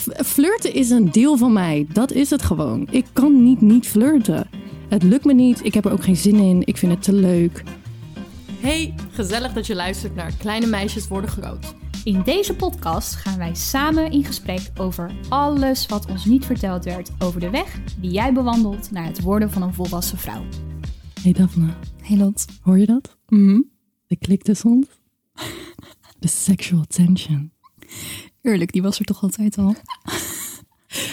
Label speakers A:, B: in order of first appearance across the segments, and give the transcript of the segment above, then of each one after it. A: F- flirten is een deel van mij. Dat is het gewoon. Ik kan niet niet flirten. Het lukt me niet. Ik heb er ook geen zin in. Ik vind het te leuk.
B: Hey, gezellig dat je luistert naar Kleine Meisjes Worden Groot.
C: In deze podcast gaan wij samen in gesprek over alles wat ons niet verteld werd over de weg die jij bewandelt naar het worden van een volwassen vrouw.
A: Hey Daphne,
C: Hey Lot.
A: hoor je dat?
B: Mhm.
A: De klik tussen ons. De sexual tension.
C: Eerlijk, die was er toch altijd al.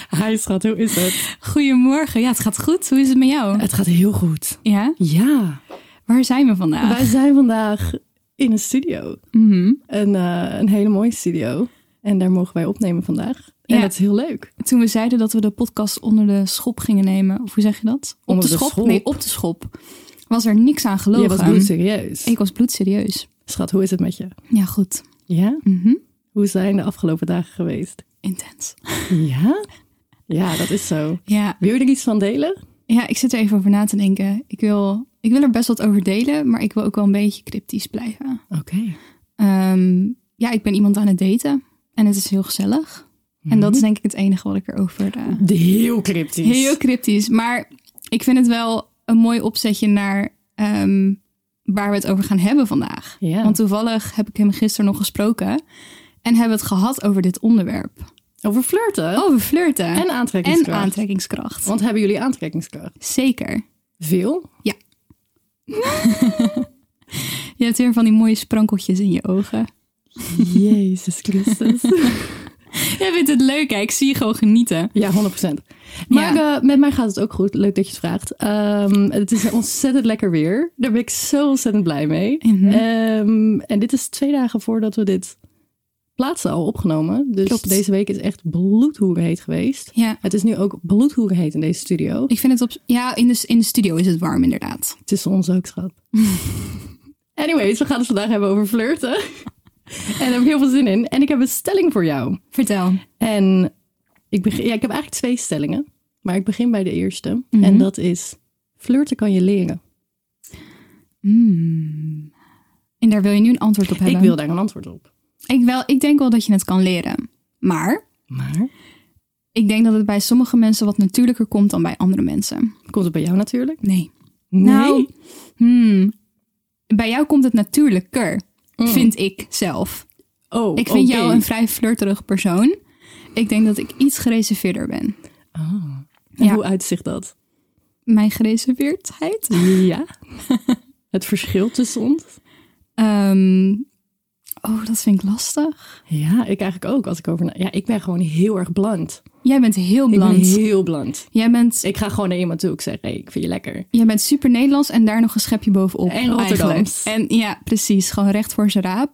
A: Hi schat, hoe is het?
C: Goedemorgen. Ja, het gaat goed. Hoe is het met jou?
A: Het gaat heel goed.
C: Eh, Ja,
A: Ja,
C: waar zijn we vandaag?
A: wij zijn vandaag in een studio. Een, eh, een hele mooie studio. En daar mogen wij opnemen vandaag. En
C: Ja.
A: dat is heel leuk.
C: Toen we zeiden dat we de podcast onder de schop gingen nemen, of hoe zeg je dat? Op
A: Onder de schop?
C: Nee, op de schop. Was er niks aan gelogen.
A: Je was bloedserieus.
C: Ik was bloedserieus.
A: Schat, hoe is het met je?
C: Ja, goed.
A: Ja? Mhm. Hoe zijn de afgelopen dagen geweest?
C: Intens.
A: Ja? Ja, dat is zo.
C: Ja,
A: Wil je er iets van delen?
C: Ja, ik zit er even over na te denken. Ik wil, ik wil er best wat over delen, maar ik wil ook wel een beetje cryptisch blijven.
A: Oké.
C: Ehm, ja, ik ben iemand aan het daten en het is heel gezellig. En
A: Mhm.
C: dat is denk ik het enige wat ik erover... eh
A: Heel cryptisch.
C: heel cryptisch, maar ik vind het wel een mooi opzetje naar ehm, waar we het over gaan hebben vandaag.
A: Ja.
C: Want toevallig heb ik hem gisteren nog gesproken en hebben we het gehad over dit onderwerp.
A: Over flirten
C: Over flirten
A: Oh, en aantrekkingskracht.
C: En aantrekkingskracht.
A: Want hebben jullie aantrekkingskracht?
C: Zeker.
A: Veel?
C: Je hebt weer van die mooie sprankeltjes in je ogen.
A: Jezus Christus.
C: Jij vindt het leuk, hè? Ik zie je gewoon genieten.
A: ja, 100%. Maar eh, met mij gaat het ook goed. Leuk dat je het vraagt. Ehm, het is ontzettend lekker weer. Daar ben ik zo ontzettend blij mee.
C: Mhm.
A: Ehm, en dit is twee dagen voordat we dit plaatsen al opgenomen. Dus
C: Klopt.
A: deze week is echt bloedhoerenheet geweest.
C: Ja.
A: Het is nu ook bloedhoerenheet in deze studio.
C: Ik vind het op... Ja, in de, in de studio is het warm, inderdaad.
A: Tussen ons ook, schat. Anyways, we gaan het vandaag hebben over flirten. en daar heb ik heel veel zin in. En ik heb een stelling voor jou.
C: Vertel.
A: En ik, begin, ja, ik heb eigenlijk twee stellingen. Maar ik begin bij de eerste. En dat is, flirten kan je leren.
C: En daar wil je nu een antwoord op hebben.
A: Ik wil daar een antwoord op.
C: Ik, wel, ik denk wel dat je het kan leren. Maar
A: Maar?
C: ik denk dat het bij sommige mensen wat natuurlijker komt dan bij andere mensen.
A: Komt het bij jou natuurlijk?
C: Nee.
A: Nee?
C: Nou, hmm, bij jou komt het natuurlijker, vind ik zelf.
A: oh,
C: Ik vind
A: oké.
C: jou een vrij flirterig persoon. Ik denk dat ik iets gereserveerder ben.
A: En
C: ja.
A: Hoe uitzicht dat?
C: Mijn gereserveerdheid?
A: Ja. het verschil tussen ons?
C: Ehm, oh, dat vind ik lastig.
A: Ja, ik eigenlijk ook. Als ik over na- ja, ik ben gewoon heel erg bland.
C: Jij bent heel
A: Ik
C: bland.
A: ben heel bland.
C: Jij, bent,
A: Ik ga gewoon naar iemand toe. Ik zeg, hey, ik vind je lekker.
C: jij bent super Nederlands en daar nog een schepje bovenop.
A: En Rotterdams.
C: eigenlijk. En ja, precies. Gewoon recht voor zijn raap.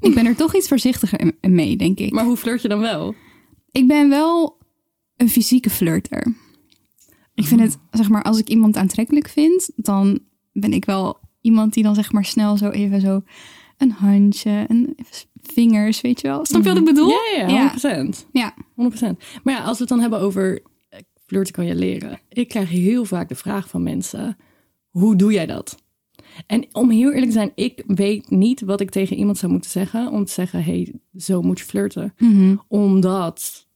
C: Ik ben er toch iets voorzichtiger in- in mee, denk ik.
A: Maar hoe flirt je dan wel?
C: ik ben wel een fysieke flirter. Ik vind het, zeg maar, als ik iemand aantrekkelijk vind, dan ben ik wel iemand die dan zeg maar snel zo even zo een handje en even vingers, weet je wel. Snap je wat ik bedoel?
A: Ja, ja, 100%.
C: ja.
A: 100%. Maar ja, als we het dan hebben over eh, flirten kan je leren. Ik krijg heel vaak de vraag van mensen, hoe doe jij dat? En om heel eerlijk te zijn, ik weet niet wat ik tegen iemand zou moeten zeggen. Om te zeggen, hey, zo moet je flirten. Omdat,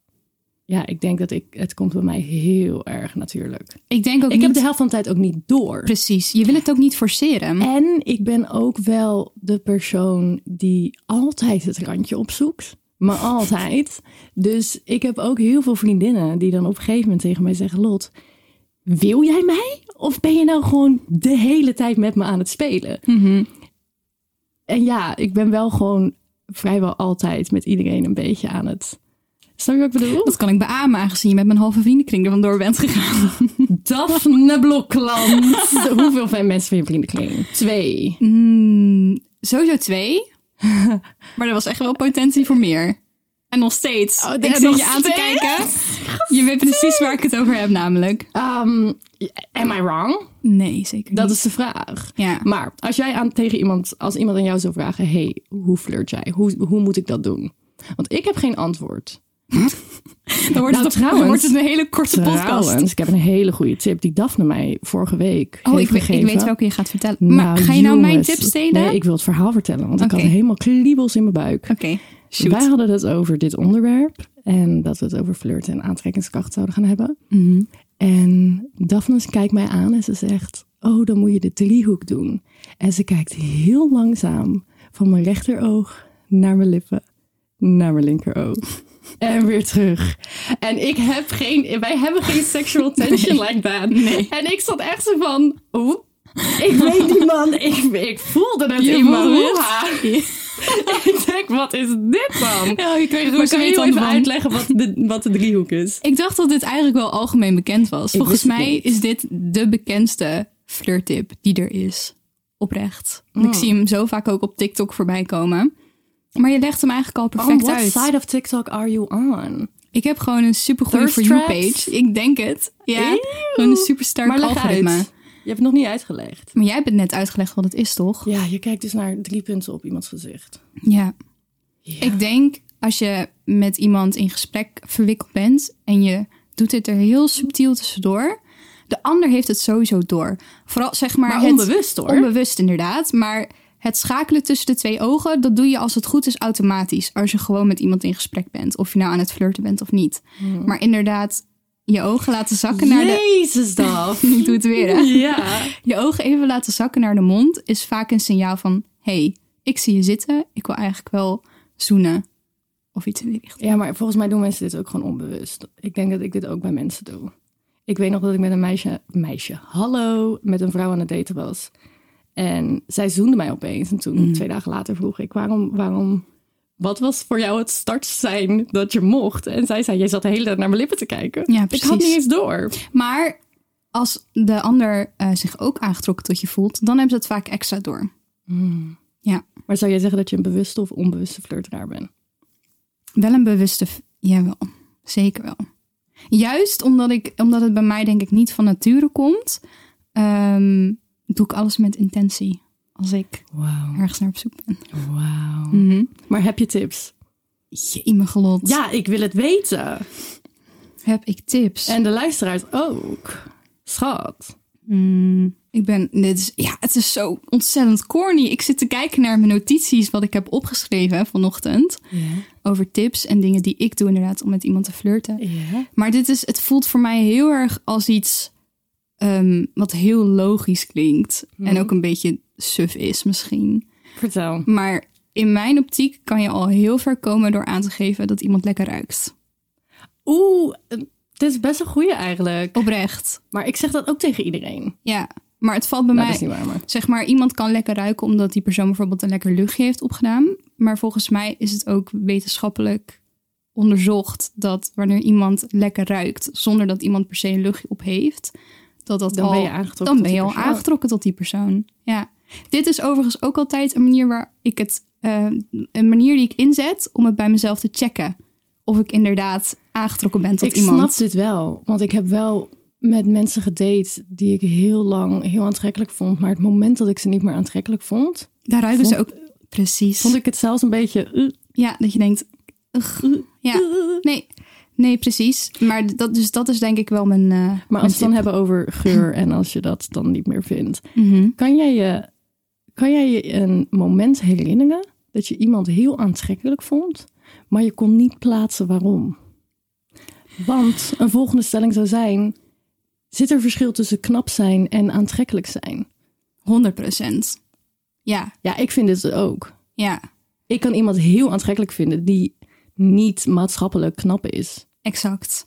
A: ja, ik denk dat ik, het komt bij mij heel erg natuurlijk.
C: Ik denk ook
A: Ik heb
C: niet...
A: de helft van de tijd ook niet door.
C: Precies. Je wil het ook niet forceren.
A: En ik ben ook wel de persoon die altijd het randje opzoekt. Maar altijd. Dus ik heb ook heel veel vriendinnen die dan op een gegeven moment tegen mij zeggen: Lot, wil jij mij? Of ben je nou gewoon de hele tijd met me aan het spelen? En ja, ik ben wel gewoon vrijwel altijd met iedereen een beetje aan het. Snap je wat ik bedoel?
C: Dat kan ik beamen, aangezien je met mijn halve vriendenkring er vandoor bent gegaan.
A: Daphne Blokland. Mhm. Hoeveel van mensen van je vriendenkring? Twee.
C: Sowieso twee. Maar er was echt wel potentie voor meer. En nog steeds.
A: Oh,
C: ik
A: en
C: zit
A: nog
C: je aan te
A: steeds?
C: kijken. Je weet precies waar ik het over heb, namelijk.
A: Ehm, am I wrong?
C: Nee, zeker niet.
A: Dat is de vraag.
C: Ja.
A: Maar als jij aan, tegen iemand, als iemand aan jou zou vragen: hey, hoe flirt jij? Hoe, hoe moet ik dat doen? Want ik heb geen antwoord.
C: dan wordt,
A: Nou,
C: het, trouwens,
A: trouwens-
C: wordt het een hele korte podcast.
A: Trouwens, ik heb een hele goede tip die Daphne mij vorige week
C: Oh,
A: heeft
C: ik, weet- ik
A: gegeven.
C: weet welke je gaat vertellen. maar ga je nou mijn
A: jongens.
C: tips delen?
A: Nee, ik wil het verhaal vertellen, want
C: Oké.
A: ik had helemaal kriebels in mijn buik.
C: Oké, shoot.
A: Wij hadden het over dit onderwerp en dat we het over flirten en aantrekkingskracht zouden gaan hebben.
C: Mhm.
A: En Daphne kijkt mij aan en ze zegt, oh, dan moet je de driehoek doen. En ze kijkt heel langzaam van mijn rechteroog naar mijn lippen, naar mijn linkeroog. En weer terug. En ik heb geen, wij hebben geen sexual tension like that. En ik zat echt zo van, oeh, ik weet niet man, ik, ik voelde het
C: Je
A: in mijn
C: voelde het?
A: hoeha. Ik denk, wat is dit dan?
C: Ja, je kan je er
A: Maar
C: ook
A: kan je
C: zweet
A: heel
C: aan
A: even
C: van.
A: uitleggen wat de, wat de driehoek is?
C: Ik dacht dat dit eigenlijk wel algemeen bekend was. Volgens
A: wist het
C: mij
A: niet.
C: is dit de bekendste flirtip die er is. Oprecht. Want Ik zie hem zo vaak ook op TikTok voorbij komen. Maar je legt hem eigenlijk al perfect uit.
A: of TikTok are you on?
C: Ik heb gewoon een supergoeie
A: Thirst
C: For You
A: traps?
C: page. Ik denk het. Ja,
A: Eeuw.
C: gewoon een supersterk
A: maar leg uit.
C: algoritme.
A: Je hebt het nog niet uitgelegd.
C: Maar jij hebt het net uitgelegd wat het is, toch?
A: Ja, je kijkt dus naar drie punten op iemands gezicht.
C: Ja. Ik denk als je met iemand in gesprek verwikkeld bent en je doet dit er heel subtiel tussendoor, de ander heeft het sowieso door. Vooral zeg maar,
A: Maar
C: het-
A: onbewust, hoor.
C: Onbewust inderdaad, maar het schakelen tussen de twee ogen, dat doe je als het goed is automatisch. Als je gewoon met iemand in gesprek bent, of je nou aan het flirten bent of niet.
A: Hmm.
C: Maar inderdaad, je ogen laten zakken naar de...
A: Jezus, Daf.
C: Ik doe het weer, hè?
A: ja.
C: Je ogen even laten zakken naar de mond is vaak een signaal van: hey, ik zie je zitten, ik wil eigenlijk wel zoenen. Of iets in die richting.
A: Ja, maar volgens mij doen mensen dit ook gewoon onbewust. Ik denk dat ik dit ook bij mensen doe. Ik weet nog dat ik met een meisje, meisje, hallo, met een vrouw aan het daten was. En zij zoende mij opeens. En toen, twee dagen later, vroeg ik, waarom, waarom, wat was voor jou het startsein dat je mocht? En zij zei, jij zat de hele tijd naar mijn lippen te kijken.
C: Ja,
A: Ik had
C: precies.
A: niet eens door.
C: Maar als de ander eh, zich ook aangetrokken tot je voelt, dan hebben ze het vaak extra door. Ja,
A: Maar zou jij zeggen dat je een bewuste of onbewuste flirteraar bent?
C: wel een bewuste. v- Jawel, zeker wel. Juist omdat, ik, omdat het bij mij, denk ik, niet van nature komt, ehm, doe ik alles met intentie. Als ik
A: Wauw,
C: ergens naar op zoek ben.
A: wauw. Mhm. Maar heb je tips?
C: Jemig gelot.
A: Ja, ik wil het weten.
C: Heb ik tips?
A: En de luisteraars ook. Schat.
C: Ik ben, dit is, ja, het is zo ontzettend corny. Ik zit te kijken naar mijn notities, wat ik heb opgeschreven vanochtend. Over tips en dingen die ik doe inderdaad om met iemand te flirten. Maar dit is, het voelt voor mij heel erg als iets ehm, wat heel logisch klinkt. En ook een beetje suf is misschien.
A: Vertel.
C: Maar in mijn optiek kan je al heel ver komen door aan te geven dat iemand lekker ruikt.
A: Oeh, eh, dit is best een goeie eigenlijk.
C: Oprecht.
A: Maar ik zeg dat ook tegen iedereen. Nou,
C: Ja, maar het valt bij mij...
A: dat is niet waar, maar...
C: zeg maar, iemand kan lekker ruiken omdat die persoon bijvoorbeeld een lekker luchtje heeft opgedaan. Maar volgens mij is het ook wetenschappelijk onderzocht dat wanneer iemand lekker ruikt, zonder dat iemand per se een luchtje op heeft, dat dat
A: Dan
C: al,
A: ben je aangetrokken
C: dan
A: tot
C: ben je
A: die
C: al
A: persoon.
C: aangetrokken tot die persoon. Ja. Dit is overigens ook altijd een manier waar ik het, eh, een manier die ik inzet om het bij mezelf te checken. Of ik inderdaad aangetrokken ben tot
A: ik
C: iemand.
A: snap dit wel. Want ik heb wel met mensen gedate die ik heel lang heel aantrekkelijk vond. Maar het moment dat ik ze niet meer aantrekkelijk vond,
C: Daar ruiken ze ook
A: Vond-
C: precies.
A: vond ik het zelfs een beetje... eh,
C: Ja, dat je denkt. ugh, ja, nee, nee, precies. Maar dat, dus dat is denk ik wel mijn. eh,
A: Maar
C: mijn
A: als we het dan
C: tip.
A: hebben over geur en als je dat dan niet meer vindt.
C: Mhm.
A: Kan, jij je, kan jij je een moment herinneren dat je iemand heel aantrekkelijk vond, maar je kon niet plaatsen waarom? Want een volgende stelling zou zijn, zit er verschil tussen knap zijn en aantrekkelijk zijn?
C: 100%. Ja,
A: Ja, ik vind dit ook.
C: ja,
A: Ik kan iemand heel aantrekkelijk vinden die niet maatschappelijk knap is.
C: exact.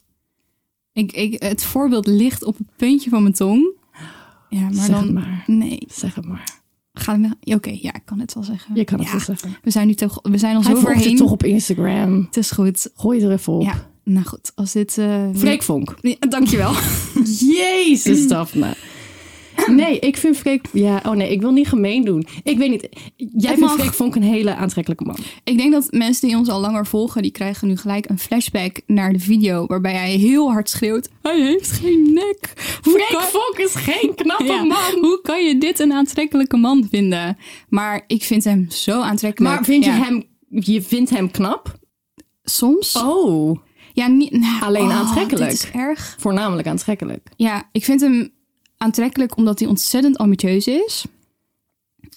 C: Ik, ik, het voorbeeld ligt op het puntje van mijn tong. Ja, maar
A: Zeg
C: dan.
A: het maar.
C: Nee,
A: Zeg het maar.
C: ga me. Oké, ja, ik kan het wel zeggen.
A: Je kan het
C: Ja,
A: wel zeggen.
C: We zijn nu toch, we zijn al
A: Hij
C: zo
A: volgt je
C: overheen.
A: toch op Instagram.
C: Het is goed.
A: Gooi er even op.
C: Ja, nou goed, als dit. eh
A: Freek Vonk. Mm.
C: Ja, dankjewel.
A: Jezus, Daphne. Nee, ik vind Freek... Ja, oh nee, ik wil niet gemeen doen. Ik weet niet. Jij vindt
C: mag.
A: Freek Vonk een hele aantrekkelijke man.
C: Ik denk dat mensen die ons al langer volgen, die krijgen nu gelijk een flashback naar de video waarbij hij heel hard schreeuwt. Hij heeft geen nek. Hoe kan-
A: Vonk is geen knappe
C: Ja, Hoe kan je dit een aantrekkelijke man vinden? Maar ik vind hem zo aantrekkelijk.
A: Maar vind je
C: Ja,
A: hem... Je vindt hem knap?
C: soms?
A: Oh,
C: Ja, niet, nou,
A: Alleen
C: oh,
A: aantrekkelijk.
C: Dit is erg.
A: voornamelijk aantrekkelijk.
C: Ja, ik vind hem aantrekkelijk omdat hij ontzettend ambitieus is.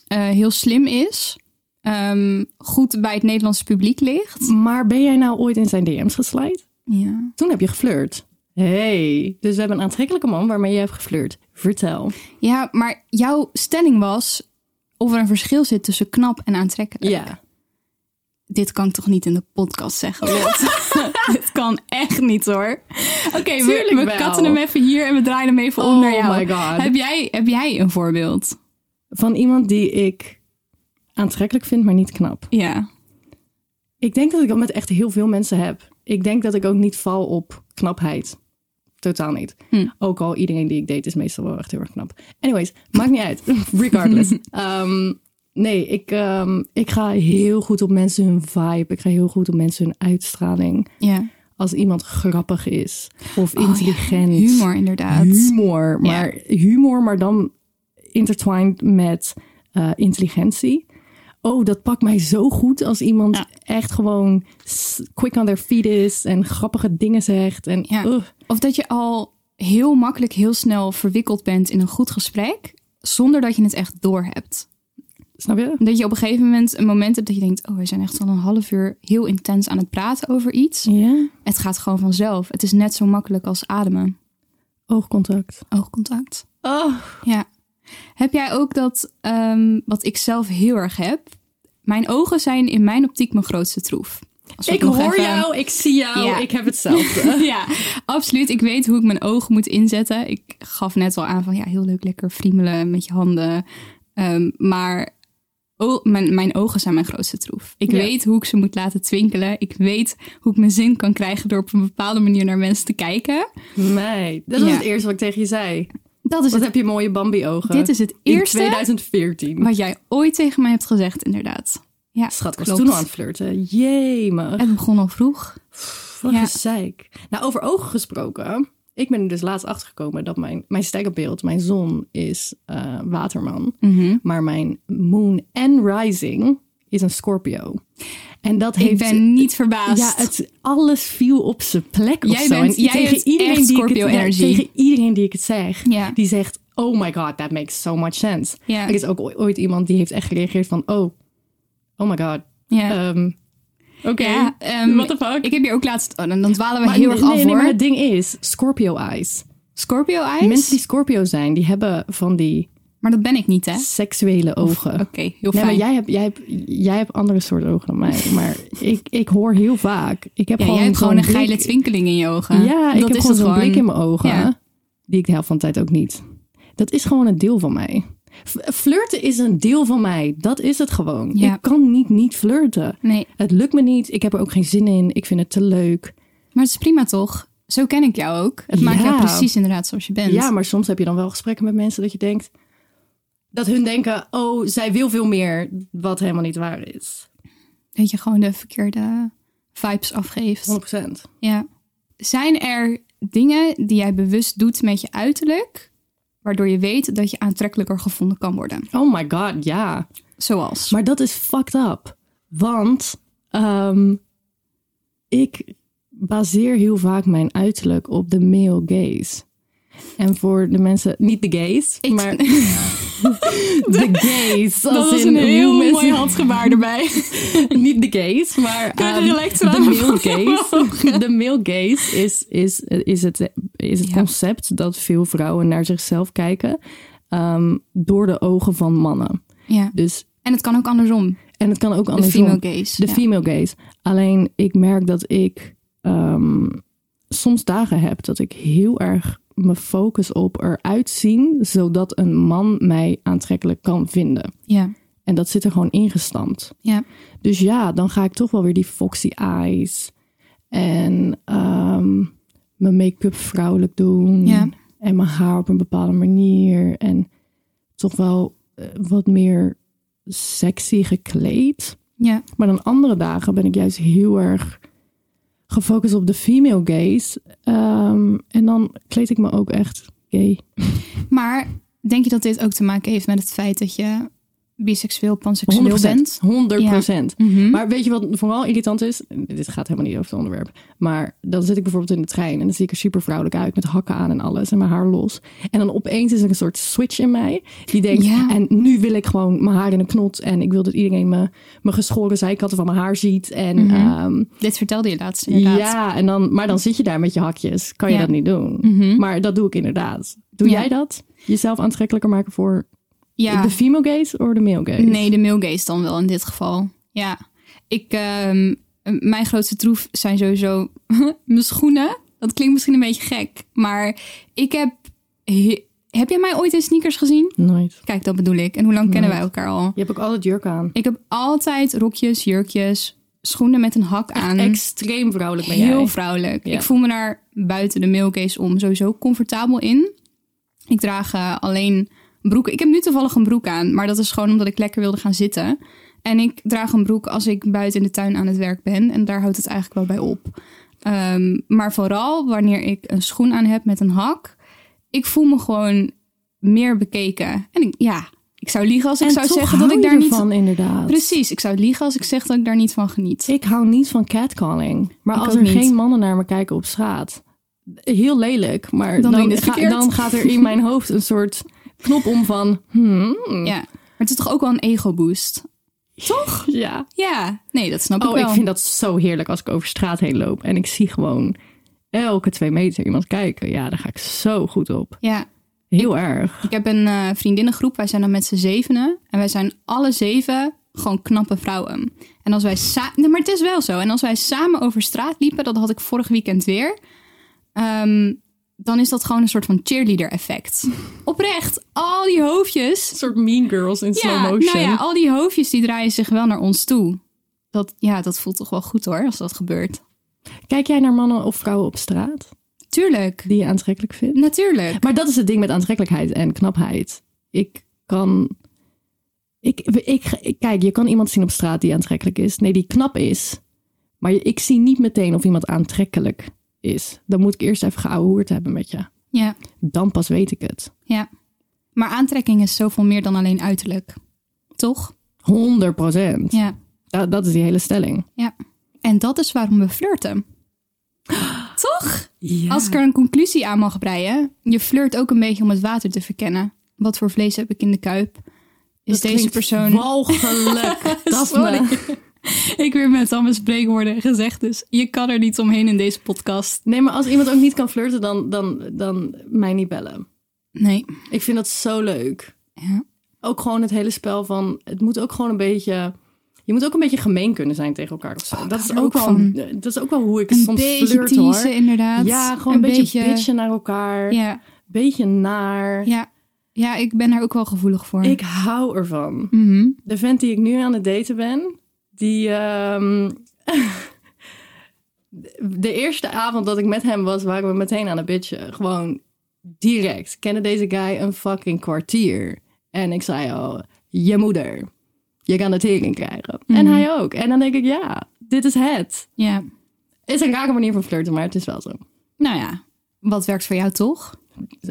C: eh, heel slim is. ehm, goed bij het Nederlandse publiek ligt.
A: Maar ben jij nou ooit in zijn DM's geslijd?
C: Ja.
A: Toen heb je geflirt. hey, dus we hebben een aantrekkelijke man waarmee je hebt geflirt. Vertel.
C: ja, maar jouw stelling was of er een verschil zit tussen knap en aantrekkelijk.
A: Ja.
C: Dit kan ik toch niet in de podcast zeggen? Dit, dit kan echt niet hoor. Oké, we,
A: Tuurlijk
C: we
A: wel.
C: katten hem even hier en we draaien hem even om
A: Oh
C: naar jou.
A: my God.
C: Heb jij, heb jij een voorbeeld?
A: Van iemand die ik aantrekkelijk vind, maar niet knap.
C: Ja.
A: Ik denk dat ik dat met echt heel veel mensen heb. Ik denk dat ik ook niet val op knapheid. Totaal niet. Ook al iedereen die ik date is meestal wel echt heel erg knap. Anyways, maakt niet uit. Regardless. Ehm, nee, ik, ehm, ik ga heel goed op mensen hun vibe. Ik ga heel goed op mensen hun uitstraling.
C: Ja.
A: Als iemand grappig is of Oh, intelligent.
C: Humor inderdaad.
A: humor, maar humor, maar dan intertwined met eh, intelligentie. Oh, dat pakt mij zo goed als iemand echt gewoon s- quick on their feet is en grappige dingen zegt. En,
C: Ja.
A: ugh.
C: Of dat je al heel makkelijk, heel snel verwikkeld bent in een goed gesprek, zonder dat je het echt doorhebt.
A: snap je?
C: Dat je op een gegeven moment een moment hebt dat je denkt, oh, we zijn echt al een half uur heel intens aan het praten over iets.
A: Ja.
C: Het gaat gewoon vanzelf. Het is net zo makkelijk als ademen.
A: Oogcontact.
C: Oogcontact.
A: Oh.
C: Ja. Heb jij ook dat, ehm, wat ik zelf heel erg heb? Mijn ogen zijn in mijn optiek mijn grootste troef. Als we
A: Ik
C: het nog
A: hoor
C: even-
A: jou, ik zie jou,
C: Ja.
A: ik heb hetzelfde.
C: ja, absoluut. Ik weet hoe ik mijn ogen moet inzetten. Ik gaf net al aan van ja, heel leuk lekker friemelen met je handen. Ehm, maar o- mijn, mijn ogen zijn mijn grootste troef. Ik
A: Ja.
C: weet hoe ik ze moet laten twinkelen. Ik weet hoe ik mijn zin kan krijgen door op een bepaalde manier naar mensen te kijken.
A: nee, dat was
C: Ja.
A: het eerste wat ik tegen je zei.
C: Dat is
A: Wat
C: het,
A: heb je mooie Bambi-ogen.
C: dit is het
A: In
C: eerste
A: 2014.
C: wat jij ooit tegen mij hebt gezegd, inderdaad. Ja,
A: Schat, ik was
C: klopt.
A: toen al aan het flirten. Jemig.
C: Het begon al vroeg.
A: Wat
C: Ja.
A: gezeik. Nou, over ogen gesproken. Ik ben er dus laatst achtergekomen dat mijn, mijn sterrenbeeld, mijn zon, is eh, waterman.
C: Mhm.
A: Maar mijn moon en rising is een Scorpio. En dat
C: Ik
A: heeft...
C: ben niet verbaasd.
A: Ja, het, alles viel op zijn plek of
C: Jij
A: zo. En
C: bent- jij hebt echt
A: die ik het-
C: Scorpio-energie.
A: tegen iedereen die ik het zeg,
C: Ja.
A: die zegt... Oh my god, that makes so much sense.
C: Ja.
A: Er is ook ooi- ooit iemand die heeft echt gereageerd van... Oh, oh my god.
C: Ja.
A: ehm, Oké,
C: Ja, ehm,
A: what the fuck?
C: Ik heb hier ook laatst... Oh, dan, dan dwalen we heel
A: nee,
C: erg af,
A: nee,
C: hoor.
A: maar het ding is, Scorpio eyes.
C: Scorpio eyes?
A: Mensen die Scorpio zijn, die hebben van die
C: Maar dat ben ik niet, hè?
A: seksuele ogen.
C: Oké, heel
A: Nee,
C: fijn.
A: maar jij hebt, jij, hebt, jij hebt andere soorten ogen dan mij. Maar ik, ik hoor heel vaak. Ik heb
C: Ja,
A: gewoon
C: jij hebt gewoon
A: zo'n
C: een geile
A: blik-
C: twinkeling in je ogen.
A: Ja, ik
C: Dat
A: heb
C: is
A: gewoon
C: het
A: zo'n blik in mijn ogen.
C: Ja.
A: Die ik de helft van de tijd ook niet. Dat is gewoon een deel van mij. F- Flirten is een deel van mij. Dat is het gewoon.
C: Ja.
A: Ik kan niet niet flirten.
C: Nee,
A: Het lukt me niet. Ik heb er ook geen zin in. Ik vind het te leuk.
C: maar het is prima toch? Zo ken ik jou ook. Het maakt
A: Ja.
C: jou precies inderdaad zoals je bent.
A: Ja, maar soms heb je dan wel gesprekken met mensen dat je denkt dat hun denken: oh, zij wil veel meer, wat helemaal niet waar is.
C: Dat je gewoon de verkeerde vibes afgeeft.
A: 100%.
C: Ja. Zijn er dingen die jij bewust doet met je uiterlijk, waardoor je weet dat je aantrekkelijker gevonden kan worden?
A: Oh my god, ja.
C: Zoals?
A: Maar dat is fucked up. Want ehm, ik baseer heel vaak mijn uiterlijk op de male gaze. En voor de mensen, niet de gays, maar de gays. als
C: was
A: in
C: een
A: hoe
C: heel
A: mensen-
C: mooi handgebaar erbij.
A: niet de gays, maar
C: Kunnen we
A: ehm,
C: er gelijk
A: de
C: twaalf
A: male
C: van
A: gaze. De male gaze is, is, is het, is het
C: Ja.
A: concept dat veel vrouwen naar zichzelf kijken ehm, door de ogen van mannen.
C: Ja.
A: Dus,
C: En het kan ook andersom.
A: en het kan ook
C: De
A: andersom.
C: female gaze.
A: De
C: ja.
A: female gaze. Alleen ik merk dat ik ehm, soms dagen heb dat ik heel erg me focus op eruit zien, zodat een man mij aantrekkelijk kan vinden.
C: ja.
A: En dat zit er gewoon ingestampt.
C: Ja.
A: Dus ja, dan ga ik toch wel weer die foxy eyes. En ehm, mijn make-up vrouwelijk doen.
C: Ja.
A: En mijn haar op een bepaalde manier. En toch wel eh, wat meer sexy gekleed.
C: Ja,
A: Maar dan andere dagen ben ik juist heel erg gefocust op de female gaze. Ehm, en dan kleed ik me ook echt gay.
C: maar denk je dat dit ook te maken heeft met het feit dat je biseksueel, panseksueel bent?
A: 100 procent.
C: Mhm.
A: Maar weet je wat vooral irritant is? Dit gaat helemaal niet over het onderwerp. Maar dan zit ik bijvoorbeeld in de trein en dan zie ik er super vrouwelijk uit met hakken aan en alles en mijn haar los. En dan opeens is er een soort switch in mij die denkt,
C: Ja.
A: en nu wil ik gewoon mijn haar in een knot en ik wil dat iedereen me, mijn geschoren zijkanten van mijn haar ziet. En ehm,
C: Dit vertelde je laatst Mhm. inderdaad.
A: ja, en dan, maar dan zit je daar met je hakjes. Kan je
C: Ja. Mhm.
A: dat niet doen. Maar dat doe ik inderdaad. Doe
C: Ja.
A: jij dat? Jezelf aantrekkelijker maken voor
C: Ja.
A: de female gaze of de male gaze?
C: Nee, de male gaze dan wel in dit geval. Ja. Ik, ehm, mijn grootste troef zijn sowieso mijn schoenen. Dat klinkt misschien een beetje gek, maar ik heb... he- heb jij mij ooit in sneakers gezien?
A: Nooit.
C: Kijk, dat bedoel ik. En hoe lang kennen wij elkaar al?
A: Je hebt ook altijd jurk aan.
C: Ik heb altijd rokjes, jurkjes, schoenen met een hak aan.
A: Extreem vrouwelijk ben
C: Heel
A: jij.
C: vrouwelijk.
A: Ja.
C: Ik voel me daar buiten de male gaze om sowieso comfortabel in. Ik draag eh, alleen broeken. Ik heb nu toevallig een broek aan, maar dat is gewoon omdat ik lekker wilde gaan zitten. En ik draag een broek als ik buiten in de tuin aan het werk ben. En daar houdt het eigenlijk wel bij op. Ehm, maar vooral wanneer ik een schoen aan heb met een hak. Ik voel me gewoon meer bekeken. En ik, ja, ik zou liegen als ik
A: En
C: zou
A: toch
C: zeggen
A: hou
C: dat ik
A: je
C: daar
A: ervan,
C: niet...
A: inderdaad.
C: Precies, ik zou liegen als ik zeg dat ik daar niet van geniet.
A: Ik hou niet van catcalling. Maar
C: Ik
A: als
C: ook
A: er
C: niet.
A: geen mannen naar me kijken op straat, heel lelijk. Maar
C: Dan
A: dan,
C: doe je het
A: ga-
C: verkeerd.
A: dan gaat er in mijn hoofd een soort knop om van, hmm,
C: Ja, maar het is toch ook wel een ego-boost?
A: ja.
C: Ja, nee, dat snap ik
A: Oh,
C: wel.
A: ik vind dat zo heerlijk als ik over straat heen loop en ik zie gewoon elke twee meter iemand kijken. Ja, daar ga ik zo goed op.
C: Ja,
A: Heel erg.
C: ik heb een eh, vriendinnengroep, wij zijn dan met z'n zevenen. En wij zijn alle zeven gewoon knappe vrouwen. En als wij samen... Nee, maar het is wel zo. En als wij samen over straat liepen, dat had ik vorig weekend weer... ehm, dan is dat gewoon een soort van cheerleader effect. Oprecht, al die hoofdjes...
A: Een soort mean girls in slow motion.
C: nou ja, al die hoofdjes die draaien zich wel naar ons toe. Dat, ja, dat voelt toch wel goed hoor, als dat gebeurt.
A: Kijk jij naar mannen of vrouwen op straat
C: Tuurlijk,
A: die je aantrekkelijk vindt?
C: natuurlijk.
A: Maar dat is het ding met aantrekkelijkheid en knapheid. Ik kan. Ik, ik, ik- kijk, je kan iemand zien op straat die aantrekkelijk is. Nee, die knap is. Maar ik zie niet meteen of iemand aantrekkelijk is. Dan moet ik eerst even geouwehoerd hebben met je.
C: Ja.
A: Dan pas weet ik het.
C: Ja. Maar aantrekking is zoveel meer dan alleen uiterlijk. Toch?
A: 100 procent.
C: Ja.
A: Dat, dat is die hele stelling.
C: ja. En dat is waarom we flirten. Toch? Als ik er een conclusie aan mag breien. Je flirt ook een beetje om het water te verkennen. Wat voor vlees heb ik in de kuip? Is deze persoon...
A: Walgelijk. Daphne.
C: Ik weer met allemaal spreekwoorden gezegd. Dus je kan er niet omheen in deze podcast.
A: Nee, maar als iemand ook niet kan flirten, dan, dan, dan mij niet bellen.
C: Nee.
A: Ik vind dat zo leuk.
C: Ja.
A: ook gewoon het hele spel van. Het moet ook gewoon een beetje. Je moet ook een beetje gemeen kunnen zijn tegen elkaar of zo. dat, is
C: Oh, hou
A: ook
C: er ook
A: wel, dat is ook wel hoe ik
C: Een
A: soms
C: beetje
A: flirt
C: teasen,
A: hoor.
C: inderdaad.
A: Ja, gewoon
C: Een
A: een, beetje,
C: beetje-
A: bitchen naar elkaar. Een
C: Ja.
A: beetje naar.
C: Ja. Ja, ik ben daar ook wel gevoelig voor.
A: Ik hou ervan. De vent die ik nu aan het daten ben, die. ehm, de eerste avond dat ik met hem was, waren we meteen aan het bitchen. Gewoon direct. Kende deze guy een fucking kwartier. En ik zei al, je moeder. Je kan de tering krijgen. En hij ook. En dan denk ik, ja, dit is het.
C: Ja.
A: Is een rare manier van flirten, maar het is wel zo.
C: Nou ja. Wat werkt voor jou toch?
A: 100%.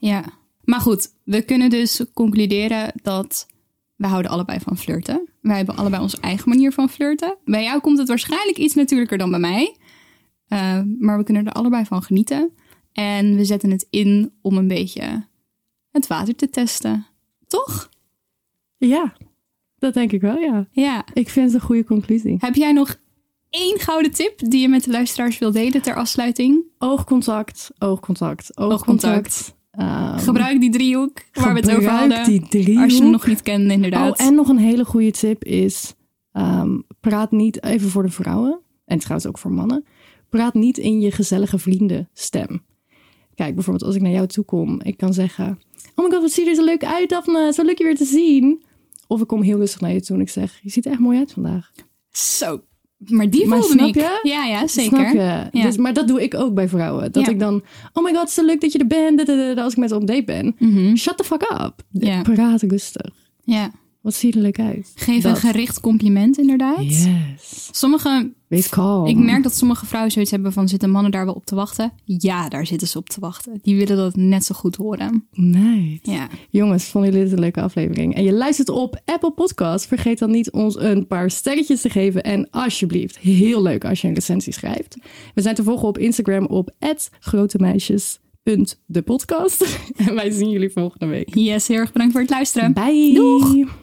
C: Ja. Maar goed, we kunnen dus concluderen dat we houden allebei van flirten. Wij hebben allebei onze eigen manier van flirten. Bij jou komt het waarschijnlijk iets natuurlijker dan bij mij. Eh, maar we kunnen er allebei van genieten. En we zetten het in om een beetje het water te testen. Toch?
A: Ja, dat denk ik wel, ja.
C: Ja.
A: Ik vind het een goede conclusie.
C: Heb jij nog één gouden tip die je met de luisteraars wil delen ter afsluiting?
A: Oogcontact, oogcontact,
C: Oogcontact.
A: oogcontact. Ehm,
C: Gebruik die driehoek waar we het over
A: gebruik
C: hadden.
A: die driehoek.
C: Als je hem nog niet kende, inderdaad.
A: Oh, en nog een hele goede tip is: ehm, praat niet, even voor de vrouwen en trouwens ook voor mannen, praat niet in je gezellige vrienden stem. Kijk, bijvoorbeeld als ik naar jou toe kom, ik kan zeggen: Oh my god, wat zie je er zo leuk uit, Daphne? Zo leuk je weer te zien. Of ik kom heel rustig naar je toe en ik zeg: Je ziet er echt mooi uit vandaag.
C: Zo. Maar die
A: Maar
C: voelde
A: snap
C: ik.
A: je?
C: Ja, ja, zeker.
A: Snap je?
C: Ja.
A: Dus, maar dat doe ik ook bij vrouwen. Dat
C: Ja.
A: ik dan, oh my god, zo leuk dat je er bent. dadadada, als ik met ze op date ben. Shut the fuck up.
C: Mhm. Ja.
A: Praat rustig.
C: ja.
A: Wat zie je er leuk uit.
C: Geef
A: Dat.
C: een gericht compliment inderdaad.
A: Yes.
C: Sommige,
A: Wees kalm.
C: ik merk dat sommige vrouwen zoiets hebben van zitten mannen daar wel op te wachten? Ja, daar zitten ze op te wachten. Die willen dat net zo goed horen.
A: Nice.
C: Ja.
A: Jongens, vonden jullie dit een leuke aflevering? En je luistert op Apple Podcast. Vergeet dan niet ons een paar sterretjes te geven. En alsjeblieft, heel leuk als je een recensie schrijft. We zijn te volgen op Instagram op grotemeisjes.depodcast. En wij zien jullie volgende week.
C: Yes, heel erg bedankt voor het luisteren.
A: Bye. Doeg.